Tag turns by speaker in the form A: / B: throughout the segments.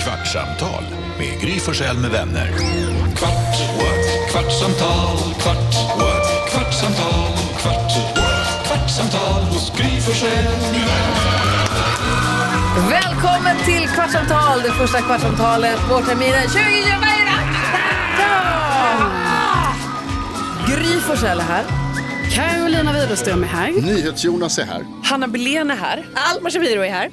A: Kvartsamtal med Gry Forssell med vänner.
B: Kvart, what? kvartsamtal, kvart, what? kvartsamtal, kvart, what? kvartsamtal hos Gry Forssell med vänner.
C: Välkommen till Kvartsamtal, det första kvartsamtalet vårterminen 2024! Gry Forssell är här.
D: Carolina Widerström är här.
E: NyhetsJonas är här.
F: Hanna Belén är här.
C: Alma Shapiro är här.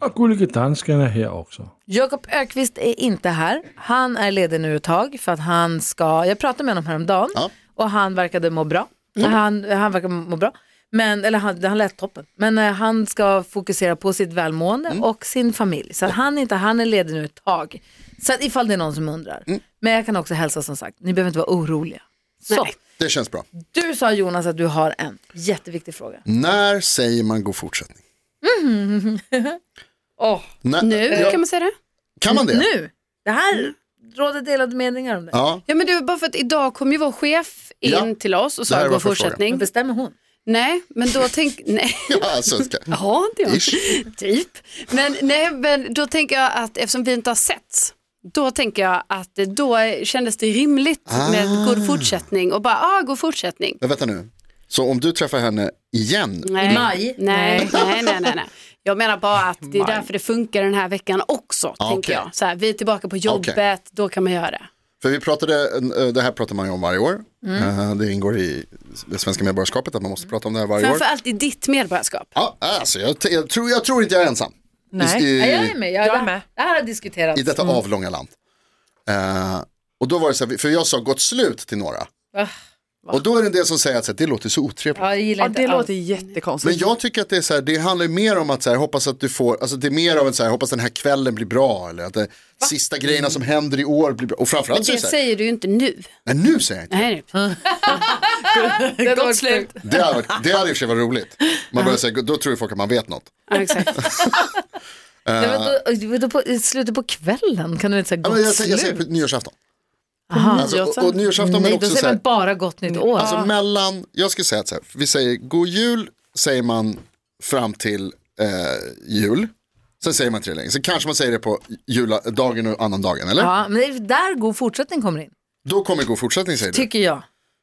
G: Och Gullige Dansken är här också.
C: Jakob Ökvist är inte här. Han är ledig nu ett tag för att han ska, jag pratade med honom häromdagen
E: Ja.
C: och han verkade må bra. Han, han verkar må bra. Men, eller han, han lät toppen. Men eh, han ska fokusera på sitt välmående
E: Mm.
C: och sin familj. Så att han, är inte, han är ledig nu ett tag. Så att ifall det är någon som undrar.
E: Mm.
C: Men jag kan också hälsa som sagt, ni behöver inte vara oroliga. Så,
E: Det känns bra.
C: du sa Jonas att du har en jätteviktig fråga.
E: När säger man god fortsättning?
C: Åh,
E: När,
D: Nu
E: Ja,
D: kan man säga det.
E: kan man det?
C: nu! Det här råder delade meningar om det.
E: Mm. Ja,
D: Ja men du, bara för att idag kom ju vår chef in
E: Ja.
D: till oss och
E: Det här
D: sa
E: är
D: gå
E: varför jag
D: fortsättning.
C: Men bestämmer hon?
D: Nej, men då tänk, nej.
E: ja alltså, ska,
D: Ja, det
E: Ish.
D: gör Typ. Men, nej, men då tänker jag att eftersom vi inte har setts, då tänker jag att då kändes det rimligt
E: Ah.
D: med god fortsättning och bara, ah, god fortsättning.
E: men vänta nu. Så om du träffar henne igen,
D: Nej.
C: maj?
D: Nej, nej, nej, nej, nej. Jag menar bara att det är därför det funkar den här veckan också,
E: Ah,
D: tänker
E: okej.
D: jag. Så här, vi är tillbaka på jobbet,
E: Okej.
D: då kan man göra det.
E: för vi pratade, eh, det här pratar man ju om varje år. Eh, Det ingår i det svenska medborgarskapet att man måste prata om det här varje år.
D: Framförallt i ditt medborgarskap.
E: Ja, alltså, jag, t- jag, tror, jag tror inte jag är ensam
F: Nej.
E: I,
C: Ja, jag
E: i,
C: är med. Jag,
F: Jag är med.
C: Det här har diskuterats.
E: i detta avlånga land. Eh, och då var det så här, för jag sa gott slut till några.
C: Ah,
E: och då är det en del som säger att så här, det låter så otrevligt.
C: Ja, jag gillar
F: Ja,
C: inte
F: det
C: alls.
F: låter
E: Men
F: jättekonstigt.
E: jag tycker att det är så här, det handlar ju mer om att så här, hoppas att du får, alltså det är mer av en så här, hoppas den här kvällen blir bra eller att det, sista grejerna som händer i år blir bra. Och framförallt så är
D: Det
E: det så här,
D: säger du ju inte nu.
E: nej nu säger jag inte.
D: Nej, nej.
C: Det
F: Gott
C: låter-
F: slut.
E: Det hade, varit- det hade i och för sig varit roligt. Man börjar säga, då tror folk att man vet något.
D: Ja, exakt.
C: Nej, men då- då, då på, I slutet på kvällen kan du inte säga
E: Ja,
C: gott
E: men jag, säger- jag säger
C: slut?
E: på nyårsafton.
C: Aha.
E: Alltså, och, och nyårsafton men
C: Nej, då
E: också så
C: säger man
E: här,
C: bara gott nytt år.
E: alltså mellan, jag skulle säga att så här, vi säger god jul säger man fram till eh, jul. Sen säger man inte det längre. Sen kanske man säger det på jula, dagen och annan dagen, eller?
C: ja, men det är där god fortsättning kommer in,
E: Då kommer god fortsättning säger du.
C: tycker jag.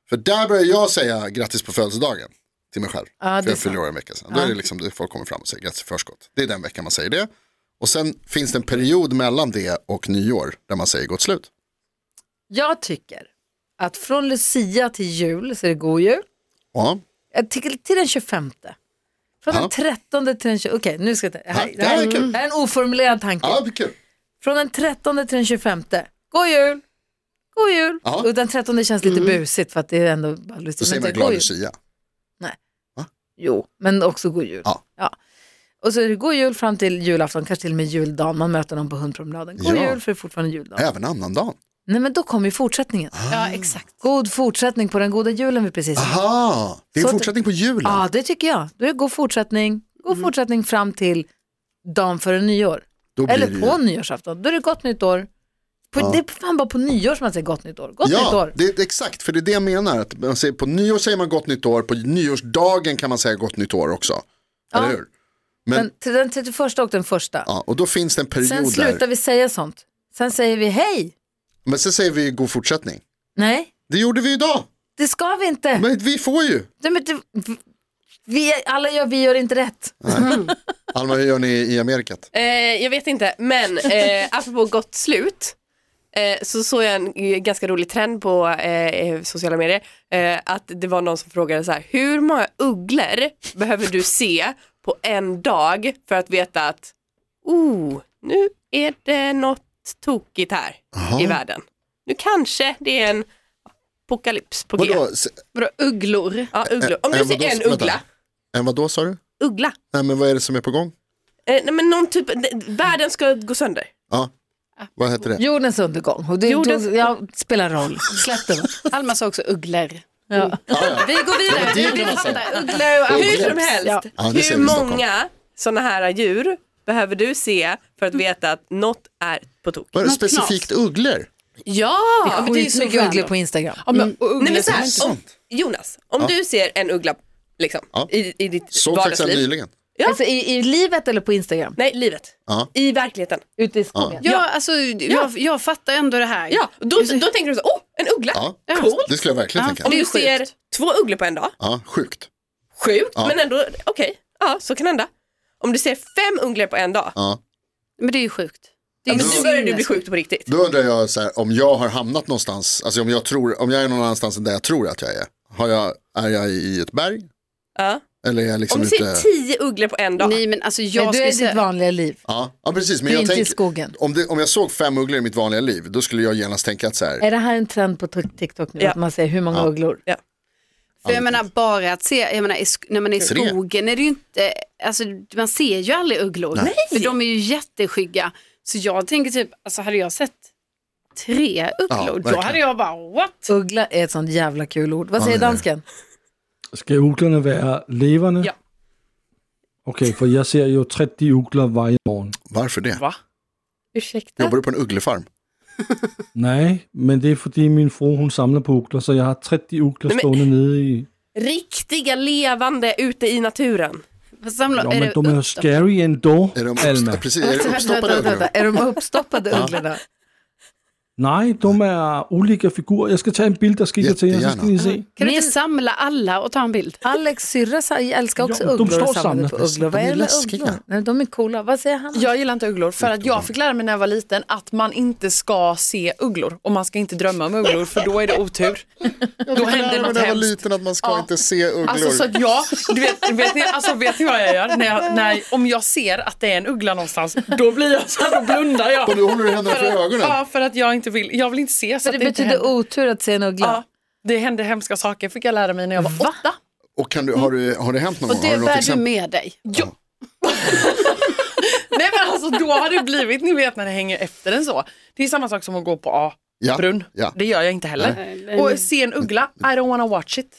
E: För där börjar jag säga grattis på födelsedagen till mig själv.
C: det är
E: för jag
C: sant.
E: fyller år en vecka sedan. Då är det liksom det folk kommer fram och säger grattis i förskott. Det är den veckan man säger det. Och sen finns det en period mellan det och nyår där man säger gott slut.
C: Jag tycker att från Lucia till jul så är det god jul.
E: Ja,
C: Jag tycker till den 25. Från
E: Ja.
C: den 13 till den 20. Okej, nu ska jag ta... Det här,
E: Ja,
C: det här
E: det är kul.
C: är en oformulerad tanke.
E: ja det är kul.
C: Från den 13 till den 25. God jul! God jul!
E: Ja. Mm.
C: Och den 13 känns lite busigt för att det är ändå bara
E: Då
C: lustigt.
E: säger
C: Men
E: man
C: det är god jul.
E: glad lucia.
C: Jo, men också god jul.
E: Ja.
C: Och så är det god jul fram till julafton, kanske till och med juldagen. Man möter någon på hundpromenaden. God
E: Ja.
C: jul för det är fortfarande juldag.
E: Även annandagen.
C: Nej men då kommer ju fortsättningen.
D: Ja, exakt.
C: God fortsättning på den goda julen vi precis Ja,
E: Aha, det är
C: Så
E: en
C: att-
E: fortsättning på julen.
C: ah, det tycker jag. Då är det god fortsättning. God
D: Mm.
C: fortsättning fram till dagen före nyår.
E: Då blir det
C: Eller
E: ju-
C: på nyårsafton. Då är det gott nytt år. På, Det är fan bara på nyår som man säger gott nytt år. Gott nytt
E: Ja,
C: år.
E: det är exakt, för det är det jag menar. Att man säger, på nyår säger man gott nytt år, på nyårsdagen kan man säga gott nytt år också. Eller hur? Men,
C: Den, till den 31 och den första.
E: ja, och då finns det en period
C: Sen slutar
E: där.
C: vi säga sånt. Sen säger vi hej.
E: Men sen säger vi god fortsättning.
C: Nej,
E: Det gjorde vi idag.
C: det ska vi inte.
E: Men vi får ju.
C: Nej, men det, vi, alla gör, vi gör inte rätt.
E: Alma, hur gör ni i Amerikat?
H: Eh, jag vet inte, men eh, apropå gott slut eh, så såg jag en eh, ganska rolig trend på eh, eh, sociala medier. Eh, att det var någon som frågade så här, hur många ugglor behöver du se på en dag för att veta att oh, nu är det något tokigt här i världen. Nu kanske det är en apokalyps på G.
E: Vadå? S-
D: Vadå, ugglor?
H: Ja, ugglor. Om
E: Eh,
H: du
E: vadå?
H: ser en
E: Vänta.
H: uggla,
E: En vadå sa du?
H: uggla.
E: Nej, men vad är det som är på gång?
H: Eh, nej, men någon typ, världen ska gå sönder.
E: Ja, vad heter det?
C: Jordens undergång. Och det
H: Jordens-
C: då- ja, spelar roll. Släpp det. va?
D: Alma sa också ugglor.
C: Ja.
E: Ah,
D: Vi går vidare.
E: Det
D: Vi
E: är
D: vill
E: det man säger.
D: fatta ugglor och
H: Hur som
D: apokalyps.
H: helst,
D: Ja.
E: Ja, det ser
H: hur
E: vi i Stockholm.
H: många sådana här djur behöver du se för att veta att något är på tok?
E: Vad är det
D: Något
E: specifikt ugglor?
D: Ja, men det är ju så
C: Skitmycket ugglor
D: random.
C: på Instagram.
D: Ja,
E: Mm.
D: men, och ugglor
H: Nej men så
D: som
H: här,
D: inte-
H: om, Jonas, om du ser en uggla liksom,
E: Ja.
H: i, i ditt
E: Såg faktiskt en
H: vardagsliv.
E: nyligen.
H: Ja.
C: Alltså i, i livet eller på Instagram?
H: Nej, livet.
E: Ja.
H: I verkligheten.
C: Ute i skogen?
D: Ja, alltså, Jag, jag fattar ändå det här. Alltså,
H: Ja, då, då tänker du så åh, en uggla.
E: Ja.
H: Coolt.
E: Det skulle jag verkligen
D: Ja.
E: tänka.
H: Du
D: Sjukt.
H: ser två ugglor på en dag.
E: Ja, sjukt.
H: Sjukt,
E: Ja.
H: men ändå okej. Ja, så kan hända. Om du ser fem ugglor på en dag,
E: Ja.
D: Men det är ju sjukt. Det är
H: men
D: ju
H: då börjar du bli
D: sinnes-
H: sjuk på riktigt.
E: Då undrar jag så här, om jag har hamnat någonstans, alltså om jag, tror, om jag är någon annanstans än där jag tror att jag är. Har jag, är jag i ett berg?
H: Ja.
E: Eller är jag
H: Om typ
E: liksom
H: du
E: ute?
H: ser tio ugglor på en dag,
D: Nej men alltså jag
C: Nej, du är
D: skulle
C: i ditt
D: säga,
C: vanliga liv.
E: Ja, ja, precis. Men
C: Du är
E: jag
C: inte i
E: tänker,
C: skogen.
E: om, det, om jag såg fem ugglor i mitt vanliga liv, då skulle jag genast tänka att så här,
C: Är det här en trend på TikTok nu?
H: Ja.
C: Att man säger hur många ugglor?
D: för jag menar bara att se, jag menar i sk- när man är i
E: Tre.
D: skogen är det ju inte, alltså man ser ju aldrig ugglor. Nej. För de är ju jätteskygga. Så jag tänker typ, alltså hade jag sett tre
E: Ja,
D: ugglor, då
E: verkligen.
D: hade jag bara what?
C: Uggla är ett sånt jävla kul ord. Vad säger
E: det är det.
C: dansken?
G: Skal uglerne være levende?
H: Ja.
G: Okay, for jeg ser jo 30 ugler hver morgen.
E: varför det?
H: ursäkta.
E: Jobbar du på en ugglefarm?
G: Nej, men det er fordi min fru, hun samler på ugler, så jeg har 30 ugler
H: Nej, men-
G: stående nede i...
H: Riktiga levande ute i naturen.
D: Vad samlar,
G: Nå,
D: är
G: men
D: det
G: de er jo
D: upp-
G: scary endog,
E: Är de,
G: Alma.
E: uppst- precis, är det uppstoppade ugglor?
C: Är de uppstoppade ugglorna?
G: Nej, de er ulike figurer. Jeg skal tage en bild, der skikker til jer, så skal I se.
D: Kan du
C: Min-
D: inte samla alla och ta en bild?
C: Alex syrra sa- älskar också
G: Ja, de
C: ugglor
G: står
C: och samlade på
G: samlat.
C: ugglor.
E: De
C: Vad
E: är
C: är det med
E: läskiga.
C: ugglor? Nej, de är coola. Vad säger han?
F: Jag gillar inte ugglor för att jag fick lära mig när jag var liten att man inte ska se ugglor och man ska inte drömma om ugglor för då är det otur. Då händer
E: Ja, men när jag
F: något
E: var
F: hemskt.
E: liten att man ska
F: Ja.
E: inte se ugglor.
F: Alltså så att jag, du vet, vet, ni, alltså, vet ni vad jag gör? När jag, när, om jag ser att det är en uggla någonstans, då blir jag så här, då blundar jag.
E: Och du håller du händerna för ögonen.
F: Ja, för att jag inte vill, jag vill inte se så
C: Så
F: att
C: det
F: det inte
C: betyder
F: händer.
C: otur att se en uggla?
F: Ja, det hände hemska saker fick jag lära mig när jag var åtta.
E: Och kan du, har, du, har det hänt någon
D: Och
E: gång? Har
D: det
E: du något
D: bär du
E: exempel?
D: med dig.
F: Nej men alltså då har det blivit, ni vet när det hänger efter en så. Det är samma sak som att gå på A.
E: Ja,
F: Brunn.
E: ja.
F: Det gör jag inte heller.
D: Nej, nej, nej.
F: Och se en uggla, I don't wanna watch it.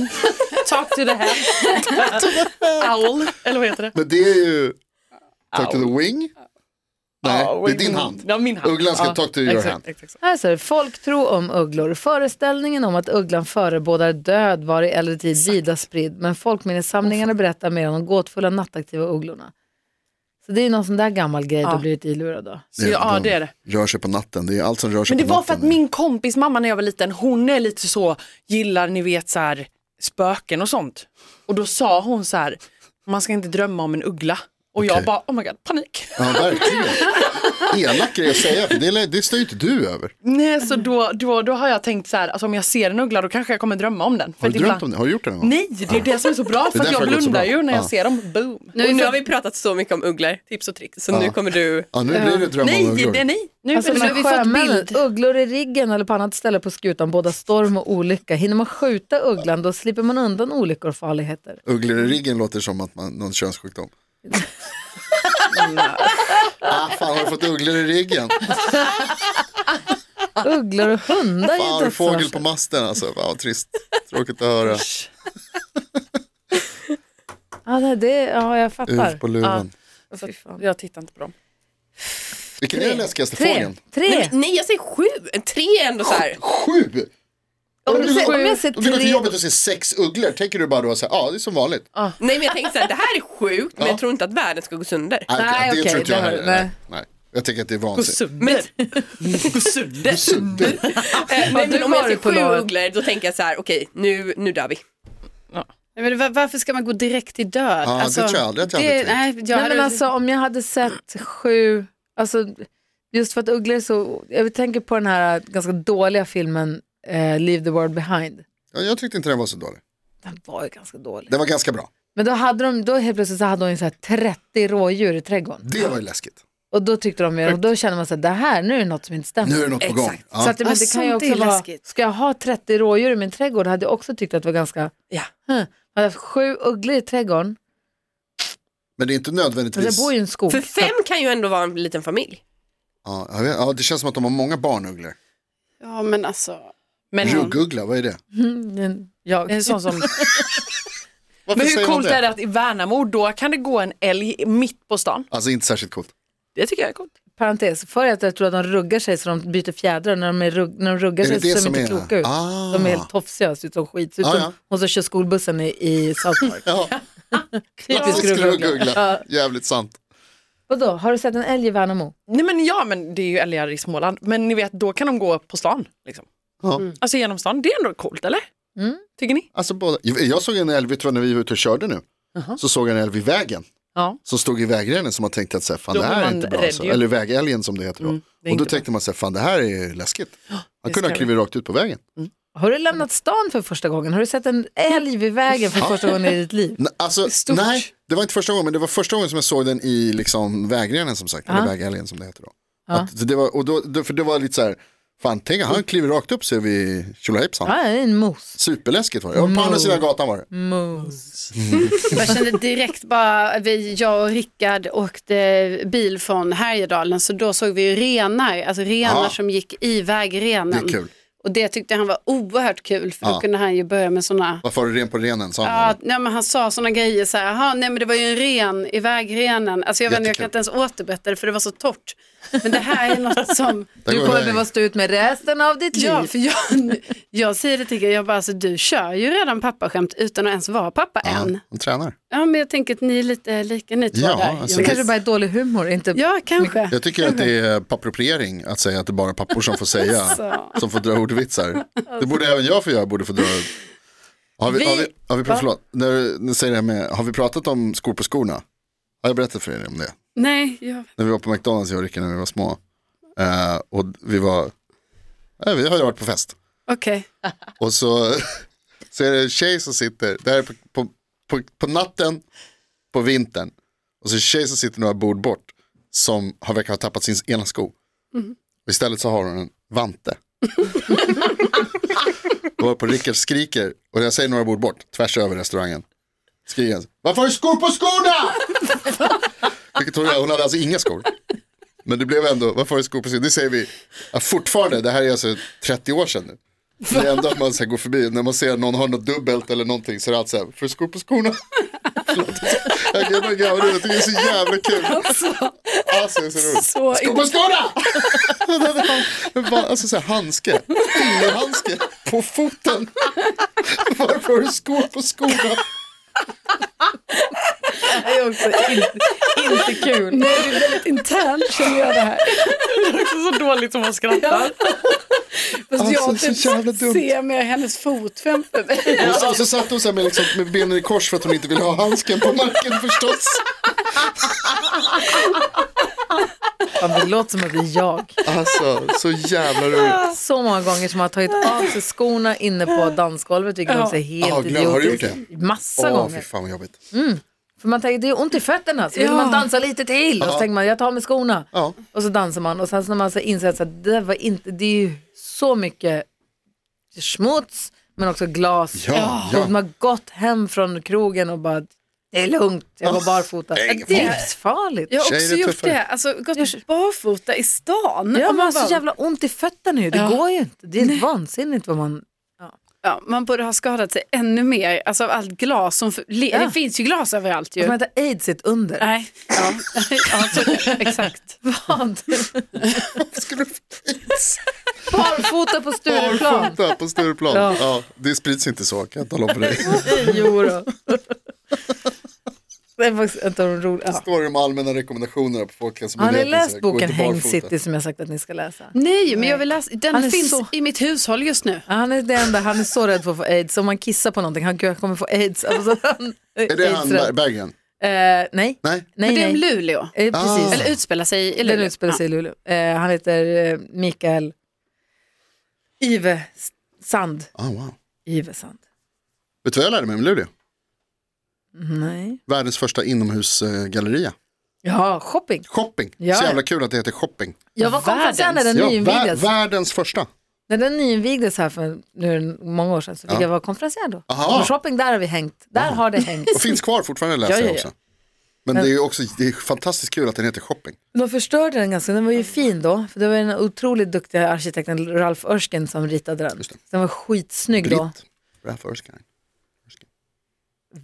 F: Talk to the head. Owl, eller vad heter det?
E: Men det är ju... Talk to the wing? Nej,
F: Ja,
E: det är
F: wing-
E: din hand.
F: Ja, min hand.
E: Ugglan ska
F: ja,
E: talk to your
F: exakt,
E: hand.
F: Exakt,
C: Här står det, folktro om ugglor. Föreställningen om att ugglan förebådar död var i äldre tid vida spridd, men folkminnessamlingarna berättar mer om de gåtfulla nattaktiva ugglorna. Så det är ju någon sån där gammal grej du har blivit ilurad av.
F: Så, ja, ja,
E: de
F: det är det.
E: Rör sig på natten, det är allt som rör sig
F: Men det
E: på
F: var för
E: natten.
F: att min kompis mamma när jag var liten, hon är lite så, gillar ni vet så här spöken och sånt. Och då sa hon så här, man ska inte drömma om en uggla. Och jag
E: Okej.
F: bara, oh my god, panik.
E: Ja, verkligen. Elak grej att säga, för det, det står ju inte du över.
F: Nej, så då, då, då har jag tänkt så här, alltså om jag ser en uggla då kanske jag kommer drömma om den.
E: Har
F: att
E: du drömt
F: ibland-
E: om det? Har du gjort det någon gång?
F: Nej, det är det som är så bra
E: Det är
F: för att
E: därför
F: jag
E: det har gått så
F: blundar
E: bra.
F: ju när jag
E: Ja.
F: ser dem. Boom.
H: och nu har vi pratat så mycket om ugglor, tips och tricks, så nu kommer du...
E: Ja, nu blir det drömmar
F: Nej,
E: om ugglor.
F: det är nej. Nu
C: Alltså
F: nu
C: de
F: har vi fått
C: sjömännen,
F: bild.
C: ugglor i riggen eller på annat ställe på skutan, båda storm och olycka. Hinner man skjuta ugglan då slipper man undan olyckor och farligheter.
E: Ugglor i ryggen låter som att man, någon könssjukdom. ah, fan, har du fått ugglor i ryggen?
C: Ugglor och hundar
E: Fan,
C: är
E: har
C: ju
E: du fågel på
C: dödsvarsel.
E: masten alltså? Fan, vad trist. Tråkigt att höra.
C: Ja, nej, det, ja, jag fattar.
E: Uf på luven.
F: Så att Jag tittar inte på dem.
E: Vilken är den läskigaste
C: Tre,
E: fågeln?
C: tre.
H: Nej, nej, jag säger sju! Tre är ändå så här.
E: Sju!
C: Om du ser- om jag ser
E: Om du går till
C: tre
E: jobbet och ser sex ugglor, tänker du bara då så här, ja ah, det är som vanligt.
H: Nej men jag tänkte så här, det här är sjukt men jag tror inte att världen ska gå sönder.
E: Nej, okej,
C: Nej,
E: det
C: okej,
E: tror inte jag
C: det har-
E: heller.
C: nej.
E: Nej. Nej. Jag tänker att det är
F: Gå
E: vansinnigt.
F: sönder. Gå sönder.
E: Super.
H: Eh, men,
C: du
H: men om jag
C: var det
H: ser
C: på
H: sju
C: låret.
H: ugglor då tänker jag så här, okej nu, nu dör vi.
D: Nej, men var- varför ska man gå direkt till död? Alltså,
E: Ja, det tror jag aldrig att jag hade
D: det,
E: tänkt.
D: nej, jag
C: Nej,
D: hade-
C: men alltså om jag hade sett sju, alltså just för att ugglor är så, jag tänker på den här ganska dåliga filmen eh, Leave the world behind.
E: Ja, jag tyckte inte den var så dålig.
C: Den var ju ganska dålig.
E: Den var ganska bra.
C: Men då hade de, då helt plötsligt så hade hon ju så här 30 rådjur i trädgården.
E: Det var ju läskigt.
C: Och då tyckte de ju, och då kände man så här, det här, nu är det något som inte stämmer.
E: Nu är det något på gång. Ja.
C: Så att, men
D: Ah,
C: det kan ju
D: sånt
C: också
D: är
C: vara,
D: läskigt.
C: ska jag ha 30 rådjur i min trädgård hade jag också tyckt att det var ganska,
F: Ja.
C: huh. Hade jag haft sju ugglor i trädgården,
E: Men det är inte
C: men jag
E: nödvändigtvis...
C: bor ju i en skog.
H: För fem kan ju ändå vara en liten familj.
E: Ja, jag vet, ja, det känns som att de har många barnugglor.
D: Ja, men alltså.
F: Men,
E: Rugguggla, vad är det?
C: Mm, jag.
F: en sån som,
E: Varför
F: men hur
E: säger man
F: coolt
E: det?
F: är det att i Värnamo då kan det gå en älg mitt på stan?
E: Alltså inte särskilt coolt.
F: Det tycker jag är coolt.
C: parentes, för att jag tror att de ruggar sig så de byter fjädrar och när de, är rugg, när de ruggar
E: Är det
C: sig
E: det
C: så ser
E: som
C: de inte
E: är det?
C: kloka ut.
E: Ah.
C: De är helt tofsiga, ser ut som skit. Ser ut
E: Ah,
C: som
E: ja.
C: hon som kör skolbussen i, i South Park.
E: Ja,
C: Typisk
E: klassisk
C: ruggugla.
E: ruggugla.
C: Ja.
E: Jävligt sant.
C: Vadå, har du sett en älg i Värnamo?
F: Nej men ja, men det är ju älgar i Småland. Men ni vet, då kan de gå på stan. Liksom.
E: Ja.
F: Alltså genom stan, det är ändå coolt eller?
C: Mm.
F: Tycker ni?
E: Alltså båda. Jag jag såg en älg, vet du vad, när vi var ute och körde nu, så såg jag en älg vid vägen.
F: Ja.
E: Som stod i vägrenen som man tänkte att så här, fan,
F: Då
E: det här
F: blir
E: är
F: man
E: inte bra.
F: rädd
E: Alltså.
F: ju. Mm,
E: Eller vägälgen som det heter då.
F: det är
E: och då
F: inte
E: tänkte man så här, fan det här är läskigt. Han kunde ha
F: ska
E: klivit rakt ut på vägen.
C: Har du lämnat stan för första gången? Har du sett en älg vid vägen för första gången i ditt liv?
E: N- Alltså,
F: Stort.
E: nej, det var inte första gången, men det var första gången som jag såg den i liksom, vägrenen som sagt, eller vägälgen som det heter då. Att det var, och då, då för det var lite så här, fan tänk
F: Mm.
E: han kliver rakt upp ser vi tjolahejpsan.
C: Ja, det är en mos.
E: Superläskigt var det, och på andra sidan gatan var det.
C: Mos.
D: Jag kände direkt bara, vi, jag och Rickard åkte bil från Härjedalen så då såg vi ju renar, alltså renar
E: Ja.
D: som gick i vägrenen.
E: Det är kul.
D: Och det tyckte han var oerhört kul för då
E: Ja.
D: kunde han ju börja med sådana
E: Varför har du ren på renen? Sa han.
D: Ja, nej, men han sa sådana grejer så här, "Jaha, nej men det var ju en ren i vägrenen. Alltså jag, vet, inte, jag
E: Jättekul.
D: kan inte ens återberätta det för det var så torrt. Men det här är något som,
E: Där
C: Du
E: går
C: kommer
E: vägen.
C: behöva stå ut med resten av ditt
D: ja,
C: liv.
D: för jag, jag säger det till er, jag bara, alltså, du kör ju redan pappaskämt utan att ens vara pappa
E: Ja,
D: än.
E: de tränar.
D: Ja, men jag tänker att ni är lite eh, lika ni två
E: Ja,
D: där.
E: alltså,
D: Jonas.
C: Det kanske bara är dålig humor, inte
D: Ja, kanske.
E: Jag tycker att det är pappropriering att säga att det är bara pappor som får säga,
D: Alltså.
E: som får dra ordvitsar. Det borde även jag få göra, borde få dra. Har vi, har vi, har vi, förlåt, när du när du säger det här med, har vi pratat om skor på skorna? Har jag berättat för er om det?
D: Nej, jag,
E: När vi var på McDonalds, jag och Rickard, när vi var små. Eh, och vi var, nej, vi har ju varit på fest.
D: okej.
E: Och så, så är det en tjej som sitter, det här är på, på, på, på natten, på vintern. Och så är det en tjej som sitter några bord bort som har verkar ha tappat sin ena sko. Och istället så har hon en vante. och på Rickard skriker, och jag säger några bord bort, tvärs över restaurangen. Skriker han, varför har du skor på skorna? Vilket hon, hon hade alltså inga skor. Men det blev ändå, varför har du skor på skorna? Det säger vi ja, fortfarande, det här är alltså 30 år sedan nu. Det är ändå att man så här går förbi, när man ser att någon har något dubbelt eller någonting så är det alltid så här, får du skor på skorna? Förlåt. Jag kan bara garva nu, jag tycker det är så jävla kul. Alltså, det är så roligt. skor på skorna! Bara, alltså så här, handske, fingerhandske på foten. Varför har du skor på skorna?
C: Det är också inte, inte kul.
D: Nej, det är väldigt internt känner jag det här.
F: Det är så dåligt som man skrattar.
D: Fast
E: Alltså,
D: jag
E: så
D: typ
E: jävla dumt.
D: ser med hennes fot framför mig.
E: Och så, så satt hon så här med, liksom, med benen i kors för att hon inte ville ha handsken på marken förstås.
C: Fan, det låter som att det är jag.
E: Alltså, så jävla roligt.
C: Så många gånger som man har tagit av sig skorna inne på dansgolvet, vilket också är helt
E: Ah, glöm-
C: idiotiskt.
E: har du gjort
C: Massa
E: Åh, fy
C: gånger.
E: fan vad jobbigt.
C: För man tänker, det är ont i fötterna, så vill
D: Ja.
C: man dansa lite till. Och så tänker man, jag tar med skorna.
E: Ja.
C: Och så dansar man och sen så när man så inser att så här, det, där var inte, det är ju så mycket smuts men också glas.
E: Ja, ja.
C: Och de har gått hem från krogen och bara, det är lugnt, jag
E: Ah.
C: var barfota.
E: Det är ingen
C: Det är
E: fara.
C: livsfarligt.
D: Jag har
E: Tjejer
D: också
E: är
D: gjort
E: tuffare.
D: det, alltså gått barfota i stan.
C: Ja,
D: Och
C: man har
D: man,
E: alltså,
C: så
D: bara,
C: jävla ont i fötterna ju. Det går ju inte. Det är vansinnigt vad man...
D: ja, man borde ha skadat sig ännu mer, alltså av allt glas som, för- le-
C: Ja.
D: det finns ju glas överallt
C: Att man
D: ju.
C: inte har aids i ett under.
D: Nej, ja, ja så, exakt.
C: Vad?
E: Skulle du
C: Barfota på Stureplan.
E: Barfota på Stureplan. Ja.
C: Ja.
E: det sprids inte så, kan jag tala om för dig.
C: Jo då. Det är faktiskt inte de roliga. Ja.
E: Står det de allmänna rekommendationerna på
C: Har
E: Folkhälsomyndigheten?
C: ni
E: så
C: läst
E: här, gå
C: boken
E: inte
C: Häng
E: barfota.
C: City som jag sagt att ni ska läsa?
D: Nej, men jag vill läsa, den
C: Han är
D: finns
C: så-
D: i mitt hushåll just nu.
C: Ja, Han är, det enda, han är så rädd för att få aids. Om man kissar på någonting, han kommer få aids. Alltså, han,
E: Är det han Ber-
C: aids-rädd.
E: Berggren?
C: Eh, nej,
E: Nej?
C: nej,
D: det är om
C: nej.
D: Luleå,
C: Eh,
E: Ah.
C: precis.
D: eller utspelar sig i Luleå.
C: Den utspelar sig i Luleå. Eh, han heter eh, Mikael Ive Sand.
E: Ah, wow.
C: Ive Sand.
E: Vet du vad jag lärde mig om Luleå?
C: Nej.
E: Världens första inomhusgalleria.
C: Ja, shopping.
E: Shopping.
C: Ja.
E: Så jävla kul att det heter shopping.
C: Jag var konferencier när den
E: Ja, vär-
C: nyinvigdes.
E: världens första.
C: När den nyinvigdes här för nu är det många år sedan så fick jag vara konferencier då.
E: Aha.
C: Och shopping, där har vi hängt. Där har det hängt.
E: Och finns kvar fortfarande läser
C: Ja, ja,
E: jag
C: ja.
E: också. Men det är ju också det är fantastiskt kul att den heter shopping.
C: De förstörde den ganska, den var ju fin då, för det var den otroligt duktiga arkitekten Ralph Erskine som ritade den.
E: Just det.
C: Den var skitsnygg
E: Britt.
C: då.
E: Ralph Erskine.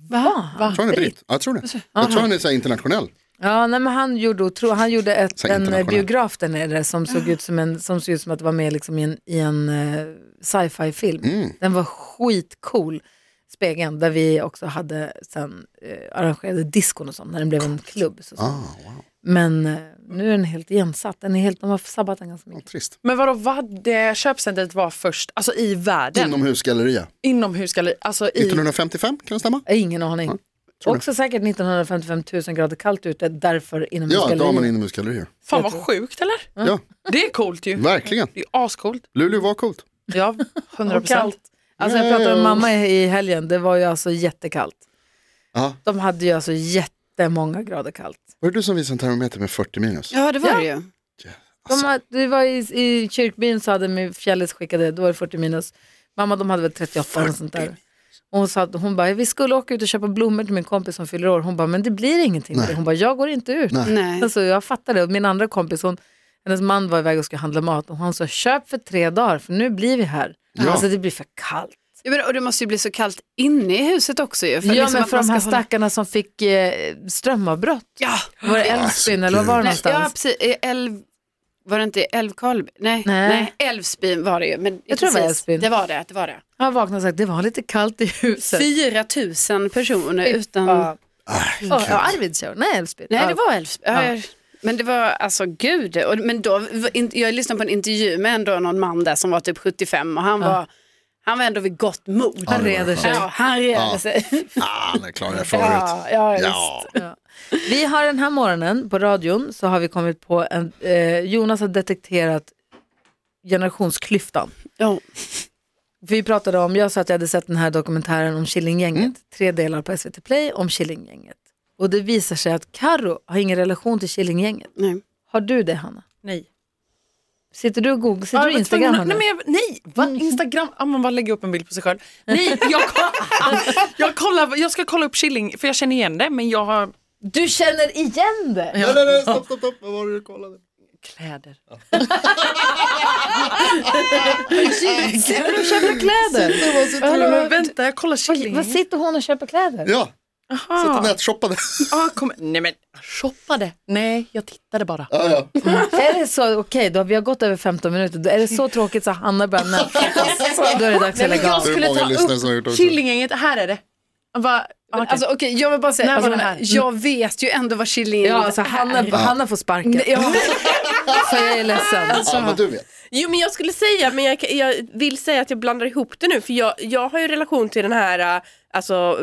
C: Va?
E: Jag tror han är britt. Ja, jag tror det. Jag tror han är så här internationell.
C: Ja, nej, men han gjorde, otro, han gjorde ett,
E: Så
C: en eh,
E: internationell.
C: biograf där nere som
E: Ah.
C: såg ut som, en, som, såg ut som att det var med liksom i en, i en eh, sci-fi-film.
E: Mm.
C: Den var skitcool, spegeln, där vi också hade sen eh, arrangerade diskon och sånt när den blev en klubb. Så, så.
E: Ah, wow.
C: Men eh, nu är den helt igensatt, den är helt, de har sabbat den ganska mycket.
E: Trist.
F: Men vadå, vad det köpcentret var först, alltså i
E: Mm.
F: världen,
E: Inomhusgalleria.
F: inomhus, eller alltså i...
E: 1955, kan det stämma?
C: Jag har Ingen aning.
E: du?
C: också säkert 1955 000 grader kallt ute, därför inom
E: Ja, då har man inomhusgallerior.
F: Fan vad sjukt eller?
E: Ja,
F: Det är coolt ju.
E: verkligen.
F: Det är ju ascoolt.
E: Luleå var coolt.
F: Ja, 100
C: Och kallt.
F: procent.
C: Alltså jag pratade med mamma i helgen, det var ju alltså jättekallt.
E: Ja.
C: De hade ju alltså jättemånga grader kallt.
E: Var det du som visade en termometer med 40 minus?
D: Ja, det var det ju.
C: De
E: Alltså.
C: har, det var i, i kyrkbyn så hade min fjällis skickade, då var det 40 minus. Mamma de hade väl 38 eller något sånt där. Och hon sa att hon bara, vi skulle åka ut och köpa blommor till min kompis som fyller år. Hon bara, men det blir ingenting. för det." Hon bara, jag går inte ut.
D: Nej.
C: Alltså, jag fattar det. Och min andra kompis, hon, hennes man var iväg och skulle handla mat och han sa, köp för tre dagar för nu blir vi här. Alltså det blir för kallt.
D: Ja, men, och det måste ju bli så kallt inne i huset också ju.
C: ja,
D: liksom
C: men
D: att
C: för
D: man
C: de här
D: ska hålla-
C: stackarna som fick eh, strömavbrott.
D: Ja,
C: Var det Älvsbyn eller vad var det
D: nej, ja
C: någonstans?
D: precis. I Älv... Var det inte i Älvkarleby? Nej,
C: Nej.
D: nej. Älvsbyn var det ju. Men
C: Jag tror det var
D: precis.
C: Älvsbyn.
D: Det var det, det var det.
C: Han vaknade och sagt, det var lite kallt i huset.
D: 4 000 personer utan...
C: Ja. Ja, Arvidsjaur, nej Älvsbyn.
D: Nej,
C: Ja.
D: det var Älvsbyn. Ja. Men det var alltså gud, och, men då, var in- jag lyssnade på en intervju med ändå någon man där som var typ 75 och han var, han var ändå vid gott mod.
C: Han reder sig.
D: Ja, han reder
E: Ja.
D: sig.
E: Ah, den klarade jag
D: Ja,
E: förut.
D: ja,
E: Ja,
C: Vi har den här morgonen på radion så har vi kommit på en, eh, Jonas har detekterat generationsklyftan.
D: Ja.
C: Vi pratade om, jag sa att jag hade sett den här dokumentären om Killinggänget, tre delar på SVT Play om Killinggänget. Och det visar sig att Karo har ingen relation till Killinggänget.
D: Nej.
C: Har du det Hanna?
F: Nej.
C: Sitter du och googlar, sitter
F: Ja,
C: du du
F: jag var
C: Instagram
F: tvungen
C: Hanna?
F: att- Nej, men jag, nej va? Instagram? Ja, man bara lägger upp en bild på sig själv. Nej, jag, koll- jag, kollar, jag ska kolla upp Killing, för jag känner igen det, men jag har
C: Du känner igen det!
E: Nej, nej, nej, stopp, stopp, stopp. Vad var det du kollade?
F: kläder.
C: Sitter du och köper kläder?
F: Hallå, men vänta, jag kollar
C: Vad-
F: Killing.
C: Vad sitter hon och köper kläder?
E: Ja, satt och
F: Aha.
E: nätshoppade.
F: Ah, kom, nej men, shoppade? Nej, jag tittade bara.
E: Ja, ja.
F: Mm.
C: Är det så, okej då har vi har gått över 15 minuter, Då är det så tråkigt så Hanna börjar nätshoppa, då är det dags att lägga av.
E: Det är många lyssnare som har gjort det också.
F: Killinggänget, här är det. Va, okay.
D: Alltså okej, jag vill bara säga,
F: När var
D: alltså,
F: det här?
D: jag vet ju ändå vad Killinggänget
C: Ja, alltså Hanna, Hanna får sparken.
D: Ja.
C: För jag är ledsen.
E: Ja, men du vet.
H: Jo men jag skulle säga, men jag, jag vill säga att jag blandar ihop det nu för jag, jag har ju relation till den här, äh, alltså,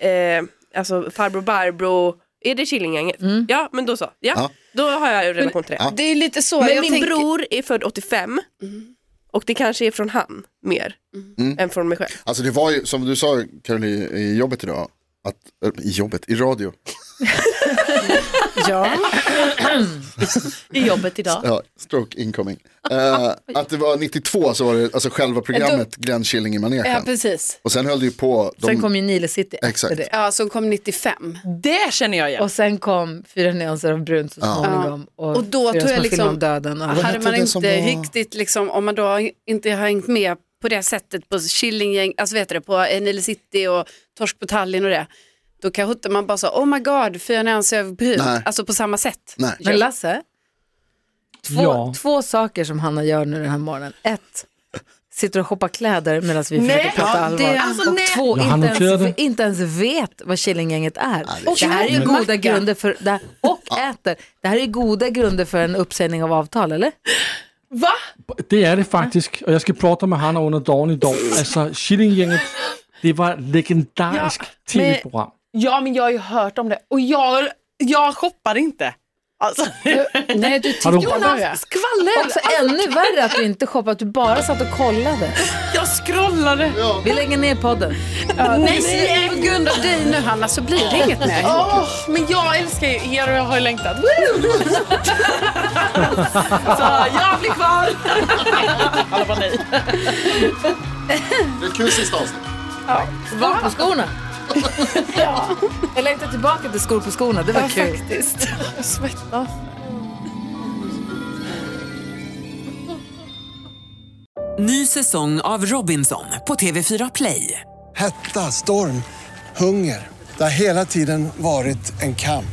H: eh, alltså farbror Barbro, är det Killinggänget?
D: Mm.
H: Ja men då så, ja.
E: Ja.
H: Då har jag ju relation till det.
E: Ja.
D: Det är lite så,
H: Men
D: jag
H: min
D: tänker-
H: bror är född 85 och det kanske är från han mer än från mig själv.
E: Alltså det var ju, som du sa Caroline, i jobbet idag, att, äh, i jobbet, i radio,
C: Ja.
F: I jobbet idag.
E: ja, stroke incoming, Eh, att det var 92 så var det alltså själva programmet Glenn Killing i
D: Ja,
E: manegen.
D: precis.
E: Och sen höll det ju på,
C: Sen
E: de,
C: kom ju Nile City efter
E: Exakt.
C: det.
D: Ja, som kom 95.
F: Det känner jag igen.
C: Och sen kom Fyra nyanser av brunt så småningom. Och,
D: Och då
C: Fyra
D: tror jag
C: små filmer
D: liksom-
C: om döden. Och
D: Hade
E: hette
D: man
E: det som
D: inte
E: var-
D: riktigt, liksom, om man då inte har hängt med på det sättet på Killinggäng, alltså vet du det, på eh, Nile City och Torsk på Tallinn och det, då kanske inte man bara sa, oh my god, fyra nyanser över brunt,
E: Nej.
D: alltså på samma sätt.
E: nej.
C: Men Lasse, två,
G: Ja.
C: två saker som Hanna gör nu den här morgonen. Ett, sitter och shoppar kläder medan vi försöker prata
D: Ja,
C: allvar.
D: det- alltså,
C: och
D: nej.
C: två,
G: Jag hann
C: inte
G: notera
C: ens,
G: det.
C: inte ens vet vad Killinggänget är.
E: det är
C: det här är ju
D: Men-
C: goda
D: Macka.
C: grunder för, det här, och äter. Det här är goda grunder för en uppsägning av avtal, eller?
F: Va?
G: Det är det faktisk, og jeg skal plotte med Hanna under dagen i dag. Altså, Shillinggænget, det var et legendarisk
F: Ja, men-
G: tv-program.
F: Ja, men jag har ju hört om det. Och jag, jag shoppar inte. Alltså,
D: Nej, du
G: Har du-
D: Jonas,
C: Skvaller! Också ännu värre att du inte shoppade, att du bara satt och kollade.
F: jag scrollade.
C: Vi lägger ner podden.
D: nej, på grund av dig nu Hanna så blir det inget mer.
F: Åh, men jag älskar ju er och jag har ju längtat. Woo! Så jag blir kvar. Alla bara nej.
E: Det är ett kul sista avsnitt.
C: Skor på skorna. Jag längtar tillbaka till skor på skorna, det var kul.
D: Faktiskt.
F: Jag svettas.
I: Ny säsong av Robinson på TV4 Play.
J: Hetta, storm, hunger. Det har hela tiden varit en kamp.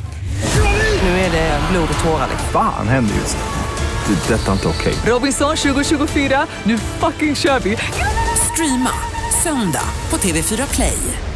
I: Nu är det blod och tårar.
J: Fan händer just nu. Det. är Detta är inte okej.
I: Robinson 2024, nu fucking kör vi! Streama söndag på TV4 Play.